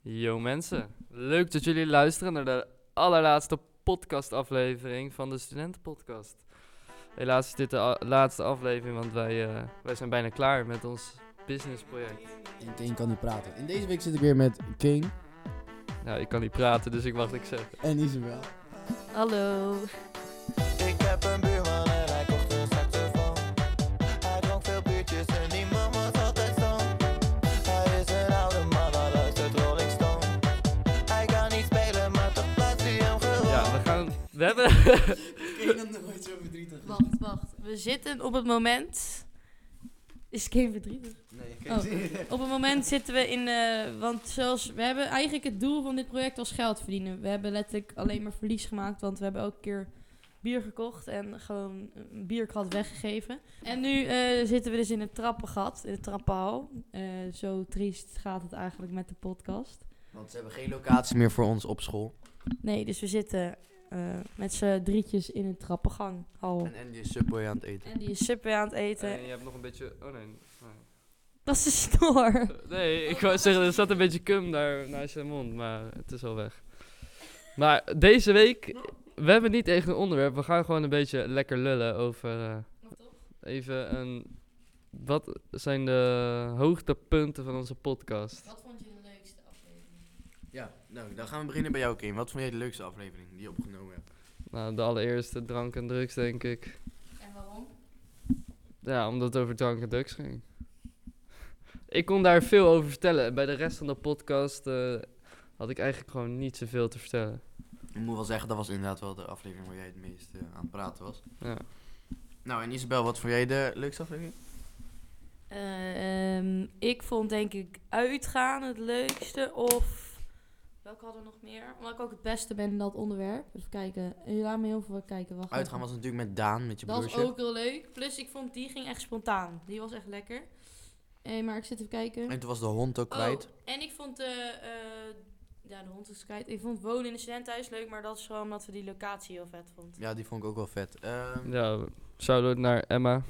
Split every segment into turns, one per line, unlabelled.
Yo mensen, leuk dat jullie luisteren naar de allerlaatste podcastaflevering van de Studentenpodcast. Helaas is dit de a- laatste aflevering, want wij, eh, wij zijn bijna klaar met ons businessproject.
En King kan niet praten. In deze week zit ik weer met King
Nou, ik kan niet praten, dus ik mag niks zeggen.
en Isabel.
Hallo.
Ik heb een buurman en hij kocht een saxofoon. Hij dronk veel biertjes en die man was altijd stom. Hij is een oude man, hij luistert Rolling Stone. Hij kan niet spelen, maar toch plaatst hij hem gewoon.
Ja, we gaan... We hebben...
King had nooit zo verdrietig.
Wacht, wacht. We zitten op het moment. Is geen verdriet.
Nee, ik
Oh. Op het moment zitten we in. eh, want zoals. We hebben eigenlijk het doel van dit project was geld verdienen. We hebben letterlijk alleen maar verlies gemaakt. Want we hebben elke keer bier gekocht. En gewoon een bierkrat weggegeven. En nu eh, zitten we dus in het trappengat. In het trappenhal. Eh, zo triest gaat het eigenlijk met de podcast.
Want ze hebben geen locatie meer voor ons op school.
Nee, dus we zitten eh, met z'n drietjes in het trappenganghal.
En, en die is Subway aan het eten.
En die is super aan het eten.
En je hebt nog een beetje... Oh nee. nee.
Dat is de snor.
Nee, ik wou zeggen, er zat een beetje cum daar naast je mond, maar het is al weg. Maar deze week, we hebben niet echt een onderwerp. We gaan gewoon een beetje lekker lullen over... eh, even een... Wat zijn de hoogtepunten van onze podcast?
Wat vond je de leukste aflevering?
Ja, nou, dan gaan we beginnen bij jou, King. Wat vond jij de leukste aflevering die je opgenomen hebt?
Nou, de allereerste drank en drugs, denk ik.
En waarom?
Ja, omdat het over drank en drugs ging. Ik kon daar veel over vertellen. En bij de rest van de podcast eh, had ik eigenlijk gewoon niet zoveel te vertellen.
Ik moet wel zeggen, dat was inderdaad wel de aflevering waar jij het meest eh, aan het praten was.
Ja.
Nou, en Isabel, wat vond jij de leukste aflevering?
Eh, ehm, ik vond denk ik uitgaan het leukste. Of welke hadden we nog meer? Omdat ik ook het beste ben in dat onderwerp. Even kijken. Je laat me heel veel kijken. Wacht
Uitgaan was natuurlijk met Daan, met je
Dat is
broertje.
ook heel leuk. Plus ik vond die ging echt spontaan. Die was echt lekker. Eh, maar ik zit even kijken.
En toen was de hond ook kwijt.
Oh, en ik vond de, eh, ja, de hond is kwijt. Ik vond wonen in een studentenhuis leuk. Maar dat is gewoon omdat we die locatie heel vet vonden.
Ja, die vond ik ook wel vet. Ehm,
Ja, shout-out naar Emma.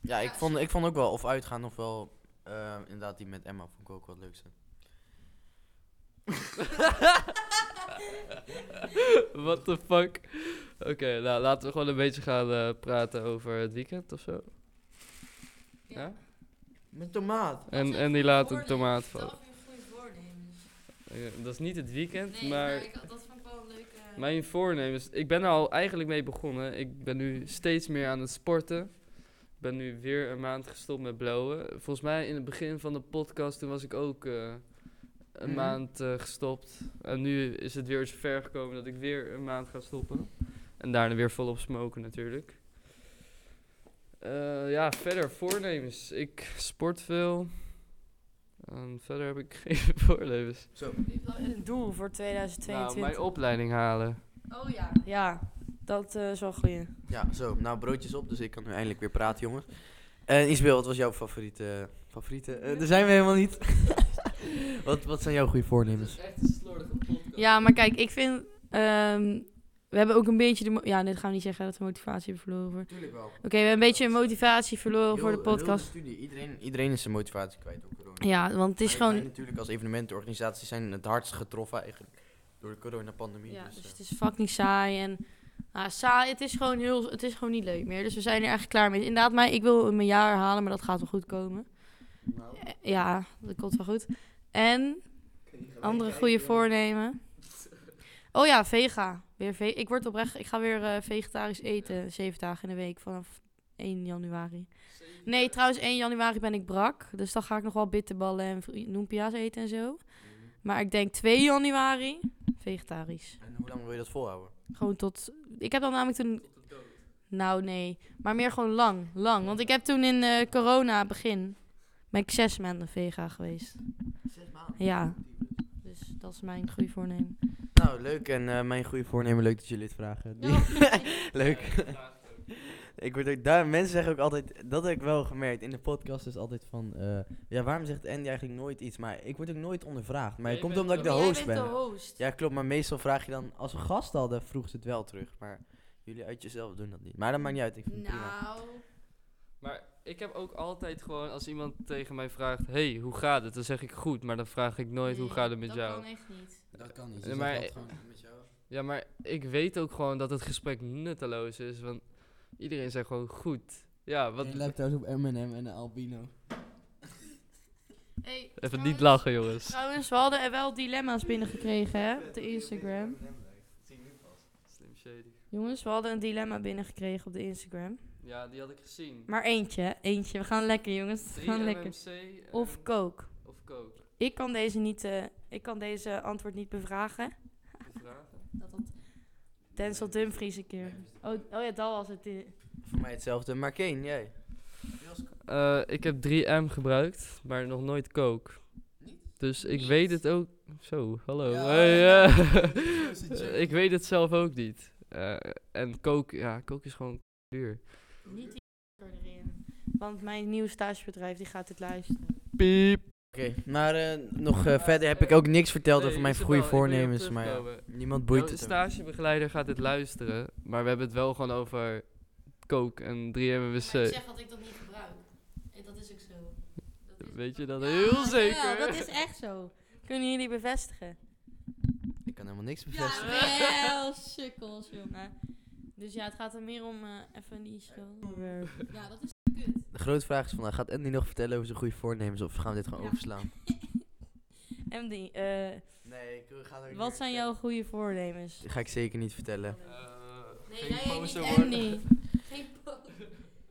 Ja, ik vond, ik vond ook wel of uitgaan of wel eh, inderdaad die met Emma vond ik ook wel het leukste.
What the fuck? Oké, nou laten we gewoon een beetje gaan eh, praten over het weekend of zo. Ja.
Met tomaat.
En, en die laat een tomaat vallen. Eh, Dat is niet het weekend, maar
dat vond ik wel een leuke...
mijn voornemens. Ik ben er al eigenlijk mee begonnen. Ik ben nu steeds meer aan het sporten. Ik ben nu weer een maand gestopt met blowen. Volgens mij in het begin van de podcast, toen was ik ook eh, een
Mhm.
maand eh, gestopt. En nu is het weer zover gekomen dat ik weer een maand ga stoppen. En daarna weer volop smoken natuurlijk. Eh, ja, verder voornemens. Ik sport veel. En verder heb ik geen voornemens.
Zo.
Een doel voor 2022.
Nou, mijn opleiding halen.
Oh ja. Ja, dat eh, is wel een goeie.
Ja, zo. Nou, broodjes op, dus ik kan nu eindelijk weer praten, jongens. En Isabel, wat was jouw favoriete... Favoriete? Eh, daar zijn we helemaal niet. wat, wat zijn jouw goede voornemens?
echt een slordige podcast.
Ja, maar kijk, ik vind... ehm, we hebben ook een beetje de... mo- Ja, dit gaan we niet zeggen dat we motivatie hebben verloren. voor- Oké,
Natuurlijk wel.
we hebben een beetje motivatie verloren voor de podcast.
studie. Iedereen, iedereen is zijn motivatie kwijt door corona.
Ja, want het is
Wij- wij
gewoon...
natuurlijk als evenementenorganisatie zijn het hardst getroffen eigenlijk door de coronapandemie.
Ja,
dus,
dus
eh,
het is fucking saai en... Nou, saai, het is, gewoon heel, het is gewoon niet leuk meer. Dus we zijn er eigenlijk klaar mee. Inderdaad, maar ik wil mijn jaar halen, maar dat gaat wel goed komen.
Nou.
Eh, Ja, dat komt wel goed. En andere goede voornemen. Oh ja, vega. Weer ve ik word oprecht. Ik ga weer eh, vegetarisch eten. Zeven dagen in de week vanaf 1 januari. Nee, trouwens, 1 januari ben ik brak. Dus dan ga ik nog wel bitterballen en fri- noempia's eten en
Mhm.
zo. Maar ik denk 2 januari vegetarisch.
En hoe lang wil je dat volhouden?
Gewoon tot. Ik heb dan namelijk toen. Nou, nee. Maar meer gewoon lang. Lang. Want ik heb toen in eh, corona begin. ben ik zes maanden vega geweest.
Zes maanden.
Ja. Dus dat is mijn goede voornemen.
Nou, leuk. En eh, mijn goede voornemen, leuk dat jullie dit vragen. Die- leuk. ik word ook, daar, mensen zeggen ook altijd, dat heb ik wel gemerkt in de podcast, is altijd van, eh, ja, waarom zegt Andy eigenlijk nooit iets? Maar ik word ook nooit ondervraagd. Maar
Nee,
het komt
je
omdat
bent
ik de
de-
host ben.
host.
Ja, klopt. Maar meestal vraag je dan, als we gast hadden, Nou. vroeg ze het wel terug. Maar jullie uit jezelf doen dat niet. Maar dat maakt niet uit. Ik vind het prima.
Nou.
Maar ik heb ook altijd gewoon, als iemand tegen mij vraagt, hey, hoe gaat het? Dan zeg ik goed, maar dan vraag ik nooit, hoe gaat het met jou?
Dat kan echt niet.
Dat kan niet.
Je zegt Maar- dat
gewoon met jou.
Ja, maar ik weet ook gewoon dat het gesprek nutteloos is, want iedereen zegt gewoon goed. Ja, wat...
Je lijkt trouwens op M&M en een albino.
Hey,
Even niet lachen, jongens.
Trouwens, we hadden er wel dilemma's binnengekregen, hè? Op de Instagram.
Slim shady.
Jongens, we hadden een dilemma binnengekregen op de Instagram.
Ja, die had ik gezien.
Maar eentje, hè, eentje. We gaan lekker, jongens. We
3
gaan lekker.
MMC
Of kook.
of coke.
Ik kan deze, niet, eh, ik kan deze antwoord niet bevragen. Dat had Denzel Dumfries een keer. Oh, oh ja, dat was het. eh.
Voor mij hetzelfde. Maar Kane, jij?
Eh, ik heb 3M gebruikt, maar nog nooit coke. Dus ik
Niet?
weet het ook. Zo, hallo.
Ja,
Hey,
ja,
eh,
ja, ja, ja, ja, ja.
ik weet het zelf ook niet. Eh, en coke, ja, coke is gewoon duur.
Niet die erin. Want mijn nieuwe stagebedrijf die gaat dit luisteren.
Piep.
Oké, maar eh, nog eh, verder heb ik ook niks verteld
Nee,
over mijn
is het
goede
wel. Ik wil hierop
voornemens, maar ja,
terugkomen.
niemand
Jouw
boeit het. ook.
stagebegeleider gaat dit luisteren, maar we hebben het wel gewoon over coke en 3MWC.
dat ik dat niet gebruik. Dat is ook zo.
Weet je dat heel zeker?
Ja, dat is echt zo. Kunnen jullie bevestigen?
Ik kan helemaal niks
Ja,
bevestigen.
wel sukkels, jongen. Dus ja, het gaat er meer om eh, even die schulden. Ja, dat is kut.
De grote vraag is vandaag, gaat Andy nog vertellen over zijn goede voornemens of gaan we dit gewoon
Ja.
overslaan?
MD, eh,
Nee, ik ga
wat zijn jouw goede voornemens?
Ga ik zeker niet vertellen.
Eh,
Nee, jij niet Andy. Geen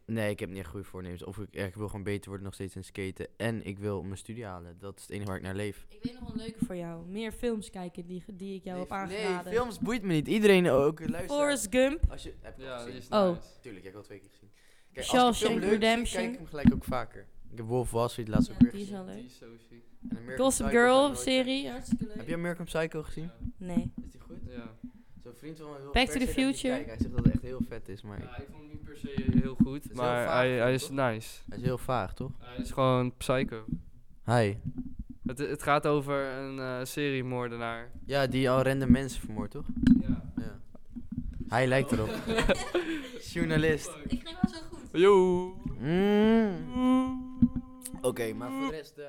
Nee, ik heb niet echt goede voornemens. Of ik, ja, ik wil gewoon beter worden nog steeds in skaten. En ik wil mijn studie halen. Dat is het enige waar ik naar leef.
Ik weet nog een leuke voor jou. Meer films kijken die, die ik jou heb aangeraden.
Nee, films boeit me niet. Iedereen ook. Luister.
Forrest Gump.
Als je, heb ik al
Ja, die
gezien.
is
Oh.
nice.
Tuurlijk, ik heb al twee keer gezien. Kijk, als ik een
Shawshank
film leuk vind,
Redemption.
kijk ik hem gelijk ook vaker. Ik heb Wolf of Wall Street laatst ook
Ja,
weer
die is
gezien.
wel
Die
leuk.
is zo ziek.
En American Psycho
Gossip
ga ik
Girl
nooit
serie. Hartstikke leuk.
kijken. Heb je American Psycho gezien?
Nee.
Is die goed?
Ja.
Zo'n vriend van mij wil
Back
per
to the
se dat niet
Future.
kijken. Hij zegt dat het echt heel vet is, maar
Ja, ik vond hem niet per se heel goed,
heel
maar
vaag,
hij, hij is
toch?
nice.
hij is heel vaag, toch?
Hij is gewoon psycho.
Hi.
Het, het gaat over een eh seriemoordenaar.
Ja, die al random mensen vermoord, toch?
Ja.
Ja. Hij lijkt erop. Journalist.
Ik ging wel zo goed.
Yo!
Hm? Mm. Oké, maar voor de rest... eh,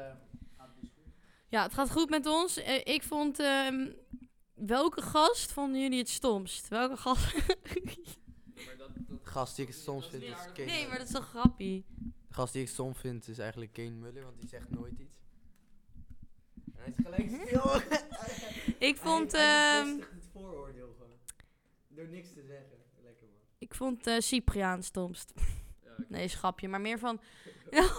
Ja, het gaat goed met ons. Eh, ik vond... ehm, welke gast vonden jullie het stomst? Welke gast...
gast die ik het soms vind is Kane.
Mm. Nee, maar dat is toch grappig.
De gast die ik stom vind is eigenlijk Kane Muller, want die zegt nooit iets. En hij is gelijk stil.
Ik vond... ehm,
het vooroordeel gewoon. Door niks te zeggen. Lekker man.
ik vond eh, Cypriaan stomst. Nee, schapje, maar meer van.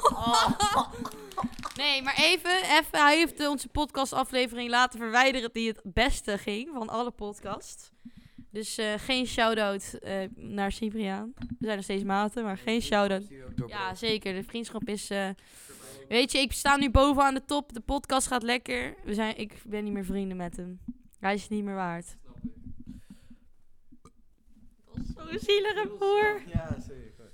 nee, maar even, even. Hij heeft eh, onze podcastaflevering laten verwijderen die het beste ging van alle podcasts. Dus eh, geen shout-out eh, naar Cypriaan. We zijn nog steeds maten, maar geen shout-out. Ja, zeker. De vriendschap is. eh, weet je, ik sta nu bovenaan de top. De podcast gaat lekker. We zijn, ik ben niet meer vrienden met hem. Hij is het niet meer waard. Zo'n zielige boer.
Ja, zeker.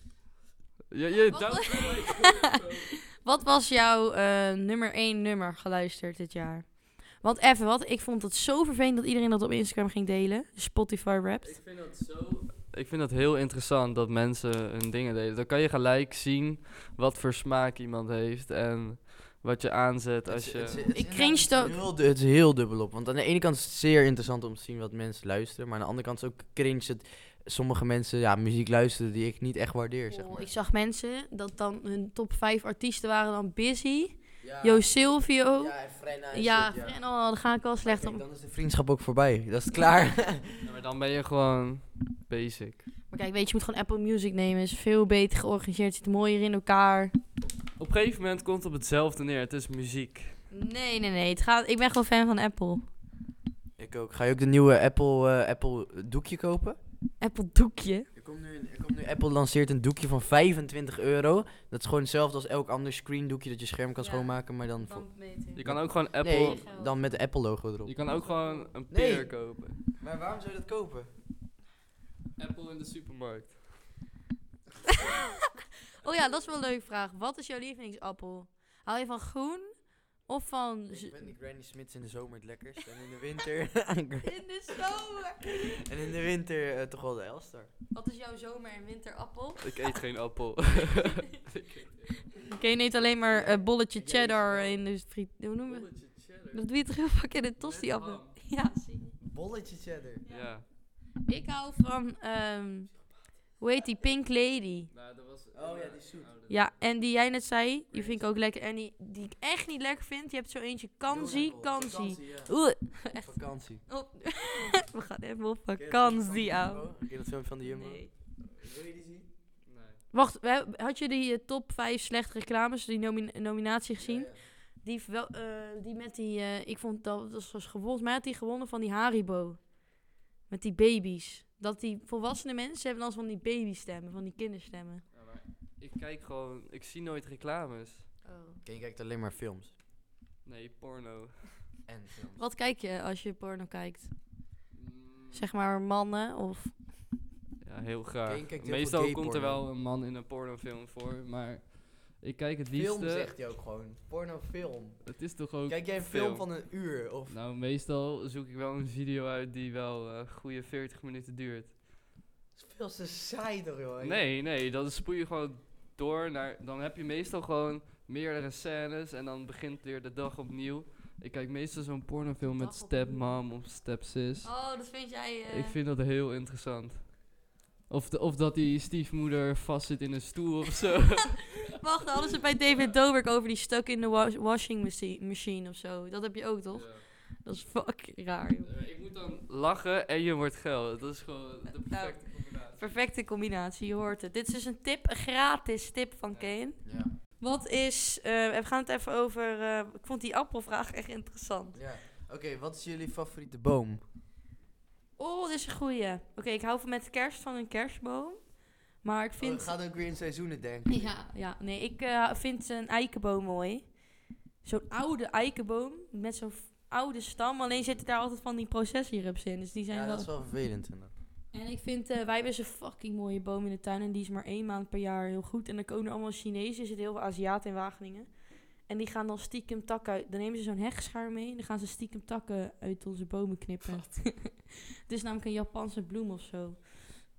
Je, je,
Wat-
dank-
Wat was jouw eh, nummer 1 nummer geluisterd dit jaar? Want even wat, ik vond het zo vervelend dat iedereen dat op Instagram ging delen. Spotify
ik
Wrapped.
vind dat zo... Ik vind dat heel interessant dat mensen hun dingen deden. Dan kan je gelijk zien wat voor smaak iemand heeft en wat je aanzet als je...
Ik cringed ook.
Heel, du- het is heel dubbel op. Want aan de ene kant is het zeer interessant om te zien wat mensen luisteren. Maar aan de andere kant is het ook cringe dat sommige mensen ja, muziek luisteren die ik niet echt waardeer. Zeg
Oh,
maar.
ik zag mensen dat dan hun top 5 artiesten waren dan Busy,
ja,
Jo Silvio. Ja,
Ja, en vrij nice
ja,
shit,
en oh, daar ga ik wel slecht
Kijk,
om.
dan is de vriendschap ook voorbij. Dat is het klaar.
Ja, maar dan ben je gewoon basic.
Maar kijk, weet je, je moet gewoon Apple Music nemen. Is veel beter georganiseerd, zit mooier in elkaar.
Op een gegeven moment komt het op hetzelfde neer. Het is muziek.
Nee, nee, nee. Het gaat, ik ben gewoon fan van Apple.
ik ook. Ga je ook de nieuwe Apple, eh, Apple doekje kopen?
Apple doekje.
Er komt, nu, een- er komt nu, Apple lanceert een doekje van 25 euro. Dat is gewoon hetzelfde als elk ander screen doekje dat je scherm kan
Ja.
schoonmaken, maar dan... voor-
Je kan ook gewoon Apple...
nee,
Apple-
dan met de Apple logo erop.
Je kan ook gewoon een
Nee.
peer kopen.
Maar waarom zou je dat kopen?
Apple in de supermarkt.
Oh ja, dat is wel een leuke vraag. Wat is jouw lievelingsappel? Hou je van groen Of van... z-
Ik ben de Granny Smits in de zomer het lekkerst. En in de winter.
In de zomer!
en in de winter eh, toch wel de Elstar.
Wat is jouw zomer- en winterappel?
Ik eet geen appel.
Oké, je neemt alleen maar eh, bolletje
Ik eet
cheddar
wel-
in de friet... Hoe noemen we Dat doe je toch heel vaak in de tosti-appel? Ja, zie je.
Bolletje cheddar.
Ja.
Ik hou van, ehm, hoe heet die, Pink Lady.
Nou, dat was...
Oh ja, die is zoet.
Ja, en die jij net zei, die vind ik ook lekker. En die, die ik echt niet lekker vind, je hebt zo eentje, kansi, kansi. Oeh,
Vakantie.
op- we gaan even op vakantie, ouwe.
Ken je dat filmpje van de Jumbo?
Nee.
Wil je die zien?
Nee.
Wacht, we hebben- had je die eh, top 5 slechte reclames, die nomi- nominatie gezien? Die, wel, eh, die met die, eh, ik vond dat, dat was gewonnen, volgens mij had die gewonnen van die Haribo. Met die baby's. Dat die volwassene mensen hebben dan van die babystemmen, van die kinderstemmen.
Ja, maar ik kijk gewoon... Ik zie nooit reclames.
Ken je kijkt alleen maar films.
Nee, porno.
En films.
Wat kijk je als je porno kijkt?
Mm,
Zeg maar mannen of...
Ja, heel
Kane
graag.
kijkt heel veel
Meestal
gay
komt er
porno.
wel een man in een pornofilm voor, maar... Ik kijk het liefst...
Film zegt hij ook gewoon. Pornofilm.
Het is toch ook...
Kijk jij een film van een uur? Of
Nou, meestal zoek ik wel een video uit die wel eh goede 40 minuten duurt.
veel te saai toch joh?
Nee, nee, dan spoel je gewoon door naar... Dan heb je meestal gewoon meerdere scènes en dan begint weer de dag opnieuw. Ik kijk meestal zo'n pornofilm met
Dag opnieuw.
stepmom of stepsis.
Oh, dat vind jij...
Ik vind dat heel interessant. Of, de- of dat die stiefmoeder vastzit in een stoel of zo.
Wacht, daar hadden ze bij David Dobrik over die stuck in the wa- washing machi- machine of zo. Dat heb je ook, toch? Dat is fucking raar, joh.
Eh, Ik moet dan lachen en je wordt geil. Dat is gewoon
Nou,
de perfecte combinatie.
Perfecte combinatie, je hoort het. Dit is dus een tip, een gratis tip van Kane.
Ja.
Wat is... eh, we gaan het even over... eh, ik vond die appelvraag echt interessant.
ja. Oké, wat is jullie favoriete boom?
Oh, dit is een goeie. Oké, ik hou van met kerst van een kerstboom. Maar ik
Vind...
Oh,
vind...
gaat Oh, ook weer in seizoenen denk ik.
Ja, ja, nee, ik eh, vind een eikenboom mooi. Zo'n oude eikenboom met zo'n f- oude stam. Alleen zitten daar altijd van die processierups in. Dus die zijn
Ja,
wel...
dat is wel vervelend. inderdaad.
En ik vind, eh, wij hebben zo'n fucking mooie boom in de tuin. En die is maar één maand per jaar heel goed. En dan komen er allemaal Chinezen. Er zitten heel veel Aziaten in Wageningen. En die gaan dan stiekem takken uit. Dan nemen ze zo'n hechtschaar mee. En dan gaan ze stiekem takken uit onze bomen knippen. Het is namelijk een Japanse bloem of zo.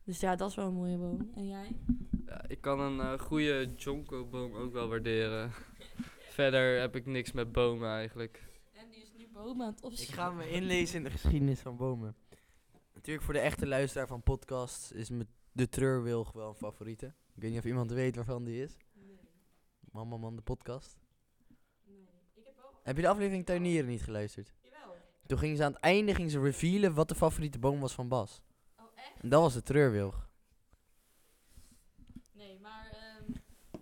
Dus ja, dat is wel een mooie boom. En jij?
Ja, ik kan een eh, goede jonko-boom ook wel waarderen. Verder heb ik niks met bomen eigenlijk.
En die is nu boom aan het
Ik ga me inlezen in de geschiedenis van bomen. Natuurlijk voor de echte luisteraar van podcasts is me de treurwilg wel een favoriete. Ik weet niet of iemand weet waarvan die is. Mama man, de podcast. Heb je de aflevering Tuinieren niet geluisterd?
Jawel.
Toen gingen ze aan het einde gingen ze revealen wat de favoriete boom was van Bas.
Oh, echt?
En dat was de treurwilg.
Nee, maar... ehm,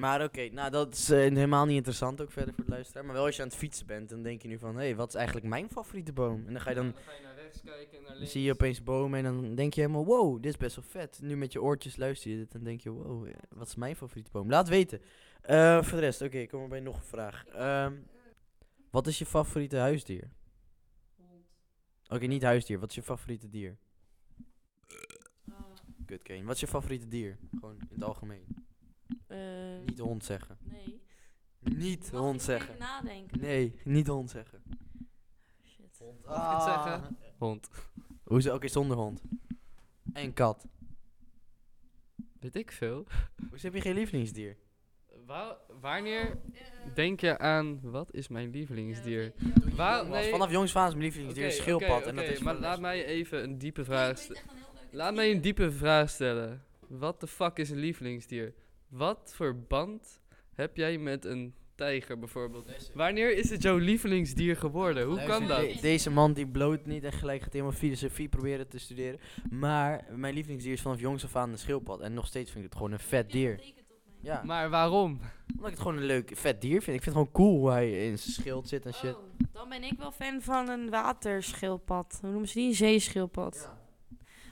Maar oké, nou dat is eh, helemaal niet interessant ook verder voor de luisteraar. Maar wel als je aan het fietsen bent, dan denk je nu van... Hé, hey, wat is eigenlijk mijn favoriete boom? En dan ga je dan
ga je naar rechts kijken en naar
Dan zie je opeens bomen en dan denk je helemaal, wow, dit is best wel vet. Nu met je oortjes luister je dit en denk je, wow, eh, wat is mijn favoriete boom? Laat weten. Eh, voor de rest, oké, ik kom er bij nog een vraag. Ehm, wat is je favoriete huisdier? Oké, niet huisdier, wat is je favoriete dier? Kut, Kane. Wat is je favoriete dier? Gewoon in het algemeen.
Eh,
Niet hond zeggen.
nee.
Niet hond zeggen.
Even nadenken.
Nee, niet hond zeggen.
Shit.
Hond.
Mag ik het zeggen? Hond.
Hoezo? Oké, zonder hond. En kat.
Weet ik veel.
Hoezo heb je geen lievelingsdier?
Wa- wanneer denk je aan wat is mijn lievelingsdier?
Oh,
Wa-
Waarom?
nee.
Vanaf jongs van mijn
Oké,
lievelingsdier is
oké,
schildpad. en dat
oké,
is
maar
voor de
laat
rest-
mij even een diepe vraag stellen. Laat mij een diepe vraag stellen. Wat de fuck is een lievelingsdier? Wat voor band heb jij met een tijger bijvoorbeeld? Wanneer is het jouw lievelingsdier geworden? Hoe
Luister,
kan dat?
de- deze man die bloot niet en gelijk gaat helemaal filosofie proberen te studeren. Maar mijn lievelingsdier is vanaf jongs af aan een schildpad. En nog steeds vind ik het gewoon een vet dier. Ja,
Maar waarom?
omdat ik het gewoon een leuk vet dier vind. Ik vind het gewoon cool hoe hij in zijn schild zit en shit.
Oh, dan ben ik wel fan van een waterschildpad. Hoe noemen ze die? Een zeeschildpad.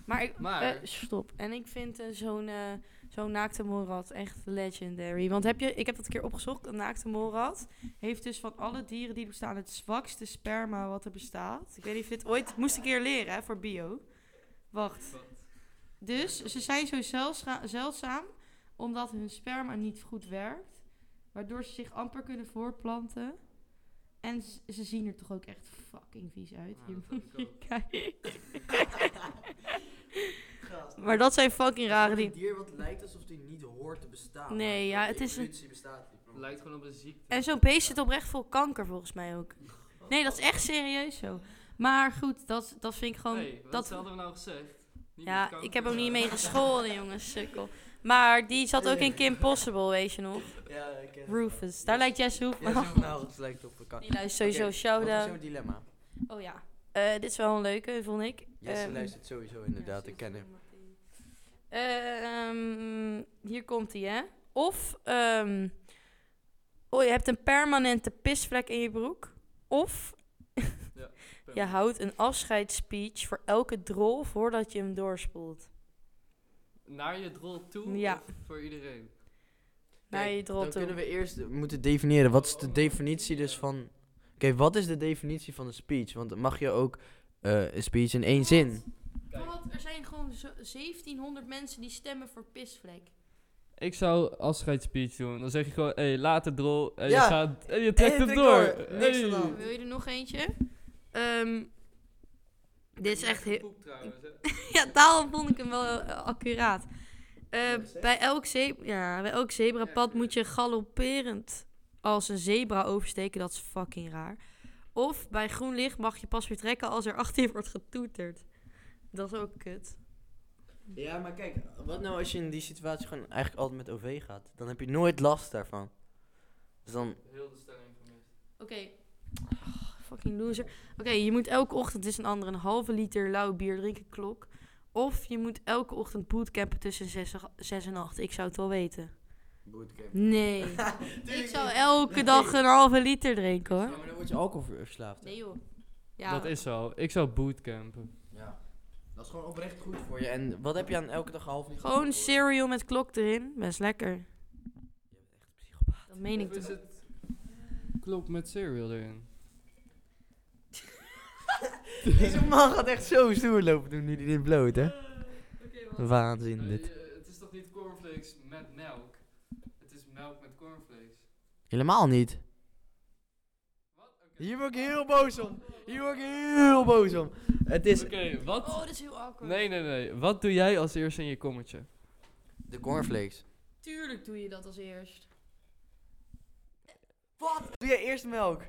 Maar, ik,
Maar-
eh, stop. En ik vind eh, zo'n eh, zo'n naakte molrat echt legendary. Want heb je, ik heb dat een keer opgezocht. Een naakte molrat heeft dus van alle dieren die er bestaan het zwakste sperma wat er bestaat. Ik weet niet of je dit ooit moest ik een keer leren hè, voor bio. Wacht. Dus ze zijn zo zeldza- zeldzaam omdat hun sperma niet goed werkt. Waardoor ze zich amper kunnen voortplanten. En z- ze zien er toch ook echt fucking vies uit.
Ja,
Hier
Ah, dat
moet
heb ik
je
ook.
kijken. maar dat zijn fucking rare dingen.
dier wat lijkt alsof die niet hoort te bestaan.
Nee, ja, het is een-
Evolutie bestaat niet, bro.
Lijkt gewoon op een ziekte.
En zo'n beest zit oprecht vol kanker volgens mij ook. Nee, dat is echt serieus zo. Maar goed, dat, dat vind ik gewoon...
Hey, wat
dat,
hadden we nou gezegd? Niet met
ja,
kanker.
ik heb ook niet mee gescholden, jongens, sukkel. Maar die zat ook in Kim Possible, weet je nog?
Ja, ik ken het wel.
Rufus. Daar lijkt Jess Hoef
Ja,
wel.
zo- nou, het lijkt op elkaar.
Die luistert sowieso
Oké, Wat is
shout-out.
jouw dilemma?
Oh ja. Eh, dit is wel een leuke, vond ik.
Jesse
Ehm,
luistert sowieso inderdaad, ik ken hem.
Eh, ehm, hier komt hij, hè? Of ehm, oh, je hebt een permanente pisvlek in je broek. Of je houdt een afscheidsspeech voor elke drol voordat je hem doorspoelt.
Naar je drol toe?
Ja.
of voor iedereen?
Naar
Kijk,
je drol
Dan kunnen
toe.
we eerst eh, moeten definiëren. Wat is de definitie dus van... Oké, wat is de definitie van een speech? Want mag je ook eh, een speech in één zin?
er zijn gewoon 1700 mensen die stemmen voor pisvlek.
Ik zou afscheidsspeech doen. Dan zeg je gewoon, hé, hey, laat het drol. En
Ja.
je, gaat, en je trekt
En je
het
trekt
door.
door. Niks
Hey.
aan de hand.
Wil je er nog eentje? Ehm, dit is echt heel...
Poep trouwens, hè.
Ja, daarom vond ik hem wel eh, accuraat. Eh, bij, elk ze- ja, bij elk zebrapad moet je galopperend als een zebra oversteken. Dat is fucking raar. Of bij groen licht mag je pas weer trekken als er achter je wordt getoeterd. Dat is ook kut.
Ja, maar kijk, wat nou als je in die situatie gewoon eigenlijk altijd met OV gaat? Dan heb je nooit last daarvan. Dus dan...
Heel de stelling gemist.
Oké. Ah, fucking loser. Oké, je moet elke ochtend dus een andere een halve liter lauw bier drinken klok. Of je moet elke ochtend bootcampen tussen 6 en 8. Ik zou het wel weten. Nee. ik zou elke dag een halve liter drinken hoor.
Ja, maar dan word je alcoholverslaafd.
Nee joh. Ja.
Dat is zo. Ik zou bootcampen.
Ja. Dat is gewoon oprecht goed voor je. En wat heb je aan elke dag half liter?
Gewoon cereal met klok erin. Best lekker. Dat meen ik
Of is
toch.
het... Klopt met cereal erin.
Deze man gaat echt zo stoer lopen doen nu die dit bloot, hè? Waanzin dit.
eh, het is toch niet cornflakes met melk? Het is melk met cornflakes.
Helemaal niet. Hier word ik heel boos om. Hier word ik heel boos om. Het is...
Oké, wat...
Oh, dat is heel awkward.
Nee, nee, nee. Wat doe jij als eerste in je kommetje?
De cornflakes.
Tuurlijk doe je dat als eerst.
Wat? Doe jij eerst melk?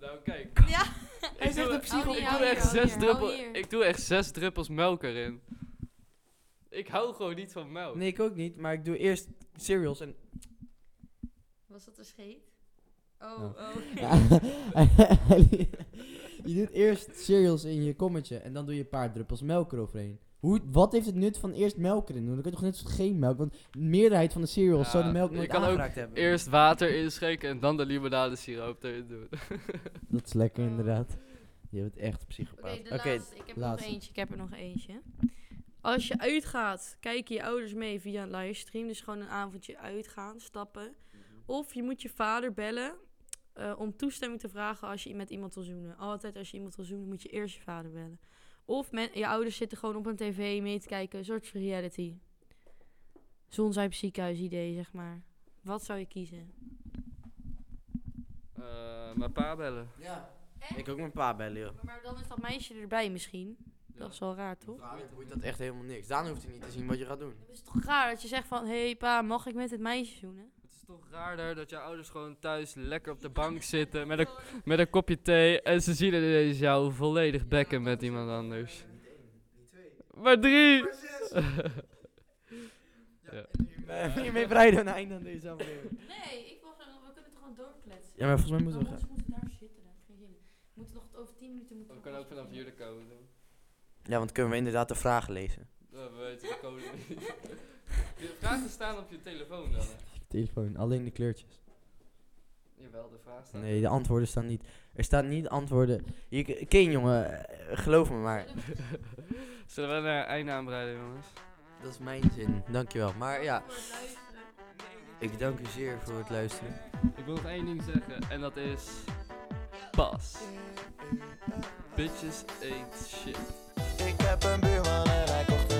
Nou, kijk.
Ja.
Hij zegt een psycho-
Ik
Hou
doe
hier,
echt
hou
zes
hier,
druppels.
hou hier.
Ik doe echt zes druppels melk erin. Ik hou gewoon niet van melk.
Nee, ik ook niet. Maar ik doe eerst cereals en...
Was dat een scheet? Oh, oh.
je doet eerst cereals in je kommetje en dan doe je een paar druppels melk eroverheen. Hoe, wat heeft het nut van eerst melk erin doen? Dan kun je toch net zo goed geen melk, want de meerderheid van de cereals
Ja,
zou de melk
je
nooit
kan ook
aangeraakt hebben.
Eerst water inschenken en dan de limonade siroop erin doen.
Dat is lekker inderdaad. Je bent echt psychopaat.
Oké, de laatste. Ik heb er nog
laatste.
eentje. Ik heb er nog eentje. Als je uitgaat, kijken je ouders mee via een livestream. Dus gewoon een avondje uitgaan, stappen. Of je moet je vader bellen eh, om toestemming te vragen als je met iemand wil zoenen. Altijd als je iemand wil zoenen, moet je eerst je vader bellen. Of men, je ouders zitten gewoon op een tv mee te kijken. Een soort van reality. Zonzuip ziekenhuis idee, zeg maar. Wat zou je kiezen?
Eh, mijn pa bellen.
Ja. Ik ook mijn pa bellen, joh.
Maar dan is dat meisje erbij misschien.
Ja.
Dat is wel raar, toch?
Vader boeit dat echt helemaal niks. Daan hoeft hij niet te zien wat je gaat doen.
Het is toch raar dat je zegt van, hé hey, pa, mag ik met het meisje zoenen?
Het is toch raarder dat je ouders gewoon thuis lekker op de bank zitten met een, met een kopje thee en ze zien ineens jou volledig bekken met iemand anders. Maar drie! Ja.
Hiermee breiden we een einde aan deze aflevering.
Nee, ik wil gewoon, we kunnen het gewoon doorkletsen.
Ja, maar volgens mij moeten we
we
gaan.
moeten daar zitten, daar heb ik geen zin in. We moeten nog over 10 minuten... Moeten
We kunnen Oh, ook vanaf jullie komen doen.
Ja, want kunnen we inderdaad de vragen lezen.
Eh, We weten de code niet. De vragen staan op je telefoon dan. hè?
Telefoon, alleen de kleurtjes.
Jawel, de vraag staat.
Nee, de antwoorden staan niet. Er staan niet antwoorden. Je k- Ken jongen, eh, geloof me maar.
Zullen we naar einde aanbreiden, jongens?
Dat is mijn zin, dankjewel. Maar ja, ik dank u zeer voor het luisteren.
Ik wil nog één ding zeggen en dat is. Pas. Bitches ain't shit.
Ah. Ik heb een buurman en hij kocht